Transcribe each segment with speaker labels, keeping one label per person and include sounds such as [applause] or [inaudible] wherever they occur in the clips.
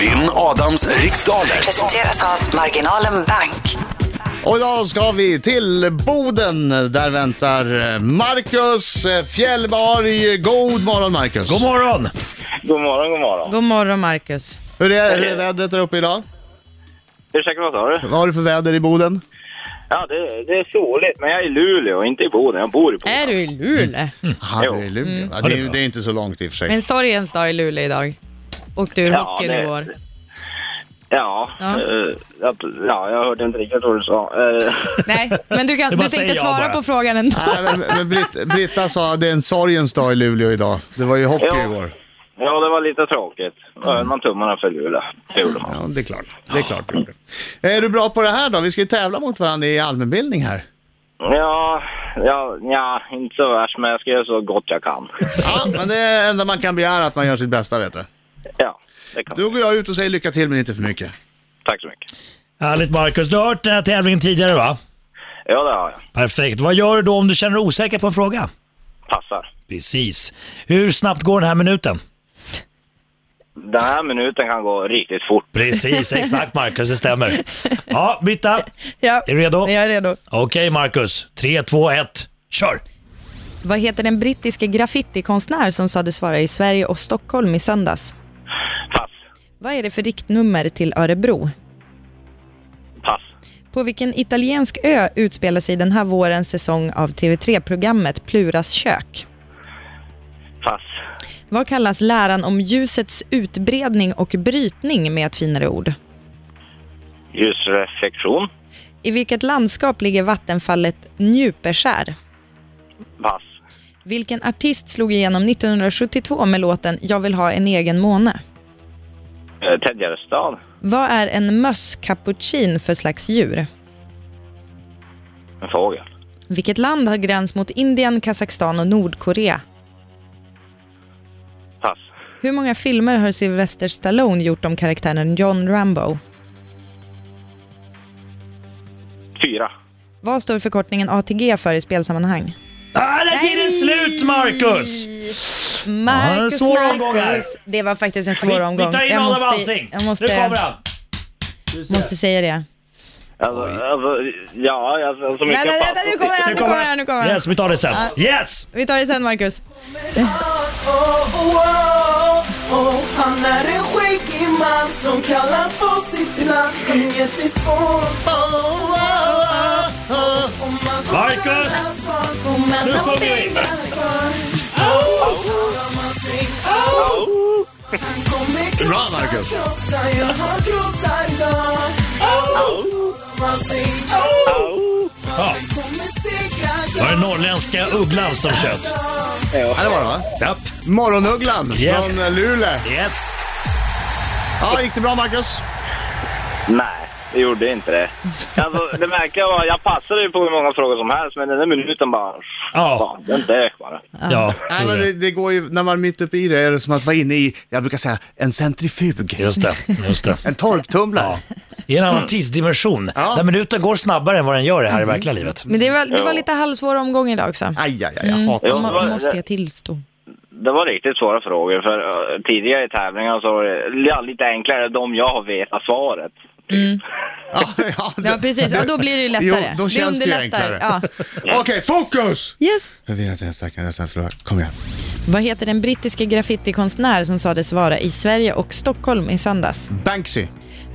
Speaker 1: Vinn Adams riksdaler.
Speaker 2: Presenteras av Marginalen Bank.
Speaker 3: Och idag ska vi till Boden. Där väntar eh, Marcus Fjällborg. God morgon Marcus.
Speaker 4: God morgon!
Speaker 5: God morgon, god morgon.
Speaker 6: God morgon Marcus.
Speaker 3: Hur är, hur är vädret där uppe idag?
Speaker 5: Ursäkta, vad sa du?
Speaker 3: Vad har du för väder i Boden?
Speaker 5: Ja, det, det är soligt, men jag är i Luleå, inte i Boden. Jag bor i Boden.
Speaker 6: Är du i Luleå?
Speaker 3: Aha,
Speaker 5: Jo.
Speaker 3: det är Luleå. Ja, det, är- det är inte så långt i och för sig.
Speaker 6: Mm. Men sorgens dag i Luleå idag. Åkte ur hockeyn
Speaker 5: det-
Speaker 6: igår.
Speaker 5: Ja,
Speaker 6: Ja.
Speaker 5: eh, att- ja, jag hörde inte riktigt vad du sa.
Speaker 6: [laughs]
Speaker 5: Eh,
Speaker 6: Nej, men du, kan,
Speaker 4: bara
Speaker 6: du
Speaker 4: säger
Speaker 6: tänkte
Speaker 4: jag bara.
Speaker 6: svara på frågan ändå.
Speaker 3: Nej, men, men Britt, Britta sa att det är en sorgens dag i Luleå idag. Det var ju hockey
Speaker 5: Ja.
Speaker 3: igår.
Speaker 5: ja, det var lite tråkigt. Då höll man tummarna för Luleå. Det gjorde man.
Speaker 3: Ja, det är klart. Det är klart. det gjorde det. Är du bra på det här då? Vi ska ju tävla mot varandra i allmänbildning här.
Speaker 5: Ja, ja, ja, inte så värst, men jag ska göra så gott jag kan.
Speaker 3: Ja, men det är det enda man kan begära, att man gör sitt bästa vet du.
Speaker 5: Ja, det kan
Speaker 3: Då går jag ut och säger lycka till men inte för mycket.
Speaker 5: Tack så mycket.
Speaker 4: Härligt Marcus, du har hört den här tävlingen tidigare va?
Speaker 5: Ja, det har jag.
Speaker 4: Perfekt. Vad gör du då om du känner dig osäker på en fråga?
Speaker 5: Passar.
Speaker 4: Precis. Hur snabbt går den här minuten?
Speaker 5: Den här minuten kan gå riktigt fort.
Speaker 4: [laughs] Precis, exakt Marcus, det stämmer. Ja, Britta,
Speaker 6: Ja.
Speaker 4: är du redo?
Speaker 6: Jag är redo.
Speaker 4: Okej Marcus, Tre, två, ett. kör!
Speaker 6: Vad heter den brittiske graffitikonstnär som sades vara i Sverige och Stockholm i söndags?
Speaker 5: Pass.
Speaker 6: Vad är det för riktnummer till Örebro?
Speaker 5: Pass.
Speaker 6: På vilken italiensk ö utspelar sig den här vårens säsong av TV3-programmet Pluras kök?
Speaker 5: Pass.
Speaker 6: Vad kallas läran om ljusets utbredning och brytning med ett finare ord?
Speaker 5: Ljusreflektion.
Speaker 6: I vilket landskap ligger vattenfallet Njupeskär?
Speaker 5: Pass.
Speaker 6: Vilken artist slog igenom 1972 med låten Jag vill ha en egen måne?
Speaker 5: Eh, Ted Gärdestad.
Speaker 6: Vad är en mösskappuccin för slags djur?
Speaker 5: En fågel.
Speaker 6: Vilket land har gräns mot Indien, Kazakstan och Nordkorea?
Speaker 5: Pass.
Speaker 6: Hur många filmer har Sylvester Stallone gjort om karaktären John Rambo?
Speaker 5: Fyra.
Speaker 6: Vad står förkortningen ATG för i spelsammanhang?
Speaker 4: Ah, där är tiden slut Marcus! Ja, en
Speaker 6: Marcus,
Speaker 4: svår omgång här.
Speaker 6: Marcus. Det var faktiskt en
Speaker 4: Vi,
Speaker 6: svår omgång.
Speaker 4: vi tar in
Speaker 6: Jag
Speaker 4: Adam
Speaker 6: måste,
Speaker 4: Alsing. Nu
Speaker 6: jag
Speaker 4: kommer
Speaker 6: måste,
Speaker 4: han.
Speaker 6: måste säga det.
Speaker 5: Alltså, alltså, ja, alltså, så mycket
Speaker 6: Nej, nej, nej, nu kommer han, nu kommer han, nu kommer han.
Speaker 4: Yes, vi tar det sen. Yes!
Speaker 6: Vi tar det sen, Marcus.
Speaker 7: Oh, Han är en skäggig man som kallas på sitt namn Inget är svårt om man
Speaker 4: Marcus! Nu sjunger vi.
Speaker 7: Bra Marcus!
Speaker 4: Var det norrländska ugglan som tjöt?
Speaker 3: Ja, det var det va?
Speaker 4: Japp.
Speaker 3: Morgonugglan
Speaker 4: Yes.
Speaker 3: från eh, Luleå.
Speaker 4: Yes.
Speaker 3: Ja, gick det bra Marcus?
Speaker 5: Nej, det gjorde inte det. Alltså, det märkliga var, jag passade ju på hur många frågor som helst, men den där minuten bara...
Speaker 4: Ja.
Speaker 5: Fan, den dök bara.
Speaker 4: Ja.
Speaker 3: Nej, men det, det går ju, när man är mitt uppe i det är det som att vara inne i, jag brukar säga, en centrifug.
Speaker 4: Just det, just det.
Speaker 3: En torktumlare.
Speaker 4: I en annan tidsdimension.
Speaker 3: Mm. Ja. Mm.
Speaker 4: Där minuten går snabbare än vad den gör det här i verkliga livet.
Speaker 6: Men det var, det var
Speaker 5: Ja.
Speaker 6: lite halvsvår omgång idag också.
Speaker 3: Aj, aj,
Speaker 4: Mm.
Speaker 3: aj, jag hatar
Speaker 5: Ja,
Speaker 3: sånt.
Speaker 5: det var-
Speaker 6: Man måste jag tillstå.
Speaker 5: Det var riktigt svåra frågor, för eh, tidigare i tävlingar så var det ja, lite enklare, de jag har vetat svaret.
Speaker 3: Ja, ja, det-
Speaker 6: Ja, precis. Ja, då [laughs] blir det ju lättare.
Speaker 3: Jo, då känns det ju
Speaker 6: det underlättar.
Speaker 3: enklare. [laughs]
Speaker 6: Ja.
Speaker 3: Okej, fokus!
Speaker 6: [laughs] Yes.
Speaker 3: Jag vet att jag är starkare än nästan förlorar. Kom igen.
Speaker 6: Vad heter den brittiska graffitikonstnär som sades vara i Sverige och Stockholm i söndags?
Speaker 3: Banksy.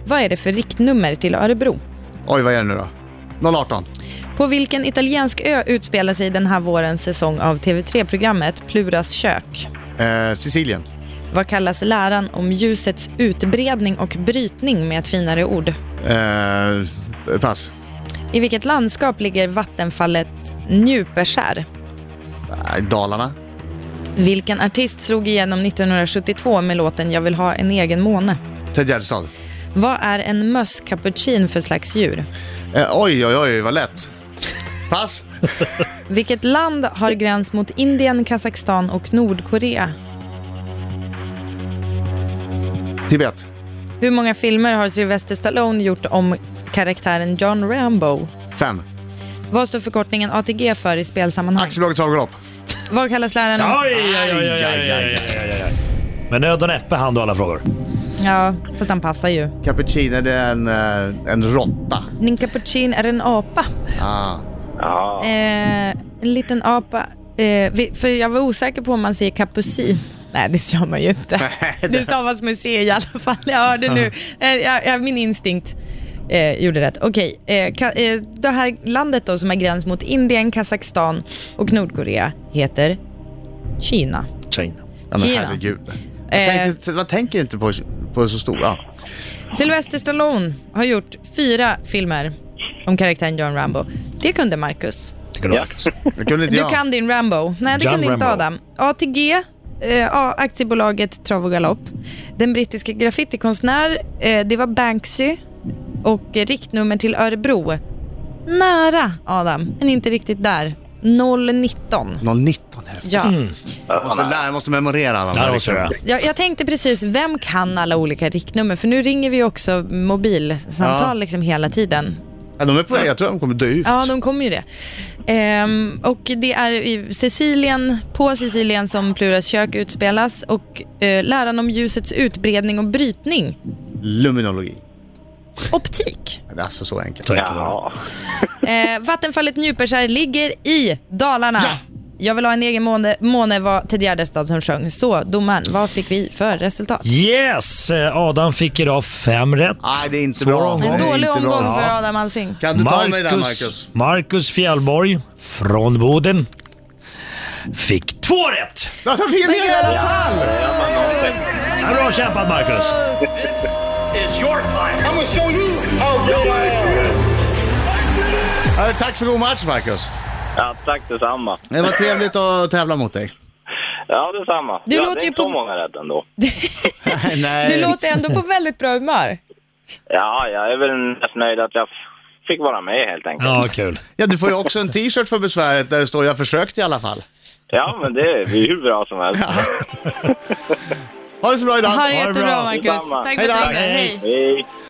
Speaker 6: Vad är det för riktnummer till Örebro?
Speaker 3: Oj, vad är det nu då? 018.
Speaker 6: På vilken italiensk ö utspelar sig den här vårens säsong av TV3-programmet Pluras kök?
Speaker 3: Eh, Sicilien.
Speaker 6: Vad kallas läran om ljusets utbredning och brytning med ett finare ord?
Speaker 3: Eh, pass.
Speaker 6: I vilket landskap ligger vattenfallet Njupeskär?
Speaker 3: Eh, Dalarna.
Speaker 6: Vilken artist slog igenom 1972 med låten Jag vill ha en egen måne?
Speaker 3: Ted Gärdestad.
Speaker 6: Vad är en mösskappuccin för slags djur?
Speaker 3: Eh, oj, oj, oj, vad lätt. Pass.
Speaker 6: Vilket land har gräns mot Indien, Kazakstan och Nordkorea?
Speaker 3: Tibet.
Speaker 6: Hur många filmer har Sylvester Stallone gjort om karaktären John Rambo?
Speaker 3: Fem.
Speaker 6: Vad står förkortningen ATG för i spelsammanhang?
Speaker 3: Aktiebolaget Travgalopp.
Speaker 6: Vad kallas läraren?
Speaker 4: Oj, oj, oj, oj, oj, oj, oj, oj, oj. Men nöd och näppe hann du alla frågor.
Speaker 6: Ja, fast han passar ju.
Speaker 3: Cappuccino det är en, eh, en råtta.
Speaker 6: Min cappuccino är en apa.
Speaker 3: Ah.
Speaker 5: Ja.
Speaker 6: Eh, en liten apa. Eh, vi, för jag var osäker på om man säger kapucin. Nej, det gör man ju inte. Det stavas med C i alla fall. Jag hörde nu. Eh, jag, jag, min instinkt eh, gjorde rätt. Okej, eh, ka, eh, det här landet då som har gräns mot Indien, Kazakstan och Nordkorea heter Kina.
Speaker 3: China. Ja, men
Speaker 6: Kina.
Speaker 3: herregud. Jag,
Speaker 6: Eh.
Speaker 3: tänkte, jag tänker inte på, på så stora.
Speaker 6: Sylvester Stallone har gjort fyra filmer om karaktären John Rambo. Det kunde Marcus.
Speaker 4: Det kan du verkligen säga.
Speaker 3: Det kunde inte
Speaker 6: Du
Speaker 3: jag.
Speaker 6: kan din Rambo. Nej, det
Speaker 4: John
Speaker 6: kunde inte
Speaker 4: Rambo.
Speaker 6: Adam. ATG, eh, A- aktiebolaget Trav och Galopp. Den brittiska graffitikonstnär, eh, det var Banksy och eh, riktnummer till Örebro. Nära Adam, men inte riktigt där. 019.
Speaker 3: Någon 19 här.
Speaker 6: Ja.
Speaker 3: Jag måste, lära, jag måste memorera alla de
Speaker 4: Ja,
Speaker 3: här.
Speaker 4: det måste du göra.
Speaker 6: Jag, jag tänkte precis, vem kan alla olika riktnummer? För nu ringer vi också mobilsamtal
Speaker 3: Ja.
Speaker 6: liksom hela tiden.
Speaker 3: Ja, de är på väg. Jag tror de kommer dö ut.
Speaker 6: Ja, de kommer ju det. Ehm, och det är i Sicilien, på Sicilien som Pluras kök utspelas och eh, läran om ljusets utbredning och brytning.
Speaker 3: Luminologi.
Speaker 6: Optik.
Speaker 3: Det är alltså så enkelt.
Speaker 4: Ta inte bara.
Speaker 5: Ja.
Speaker 6: Eh, vattenfallet Njupeskär ligger i Dalarna. Jag vill ha en egen måne, måne var Ted Gärdestad som sjöng. Så domaren, vad fick vi för resultat?
Speaker 4: Yes! eh, Adam fick idag fem rätt.
Speaker 3: Nej, det är inte
Speaker 4: Svår
Speaker 3: bra.
Speaker 4: omgång.
Speaker 3: Nej,
Speaker 6: En
Speaker 3: det är
Speaker 6: dålig
Speaker 3: inte bra.
Speaker 6: omgång för
Speaker 4: Ja.
Speaker 6: Adam Alsing.
Speaker 3: Kan du ta mig där, Marcus?
Speaker 4: Marcus Fjällborg från Boden fick två rätt.
Speaker 3: Varför vinner jag i alla fall?
Speaker 4: Ja, Bra kämpat Marcus!
Speaker 3: Ja, tack för god match, Marcus.
Speaker 5: ja, tack detsamma.
Speaker 3: Det var trevligt att tävla mot dig.
Speaker 5: Ja, detsamma.
Speaker 6: Du
Speaker 5: ja,
Speaker 6: låter
Speaker 5: det är
Speaker 6: ju
Speaker 5: inte så
Speaker 6: på-
Speaker 5: många rätt ändå.
Speaker 3: Nej.
Speaker 6: Du låter ändå på väldigt bra humör.
Speaker 5: Ja, jag är väl mest nöjd att jag f- fick vara med helt enkelt. Ja,
Speaker 4: Ja, kul.
Speaker 3: Ja, du får ju också en t-shirt för besväret där det står “Jag försökte i alla fall”.
Speaker 5: men det är ju hur bra som helst.
Speaker 3: Ha det så bra idag!
Speaker 6: Ha det
Speaker 4: Ha det
Speaker 6: jättebra
Speaker 4: bra.
Speaker 6: Marcus.
Speaker 5: Detsamma.
Speaker 6: Tack för
Speaker 3: Hej då.
Speaker 6: att du ringde.
Speaker 4: Hej.
Speaker 6: Hej.
Speaker 5: Hej.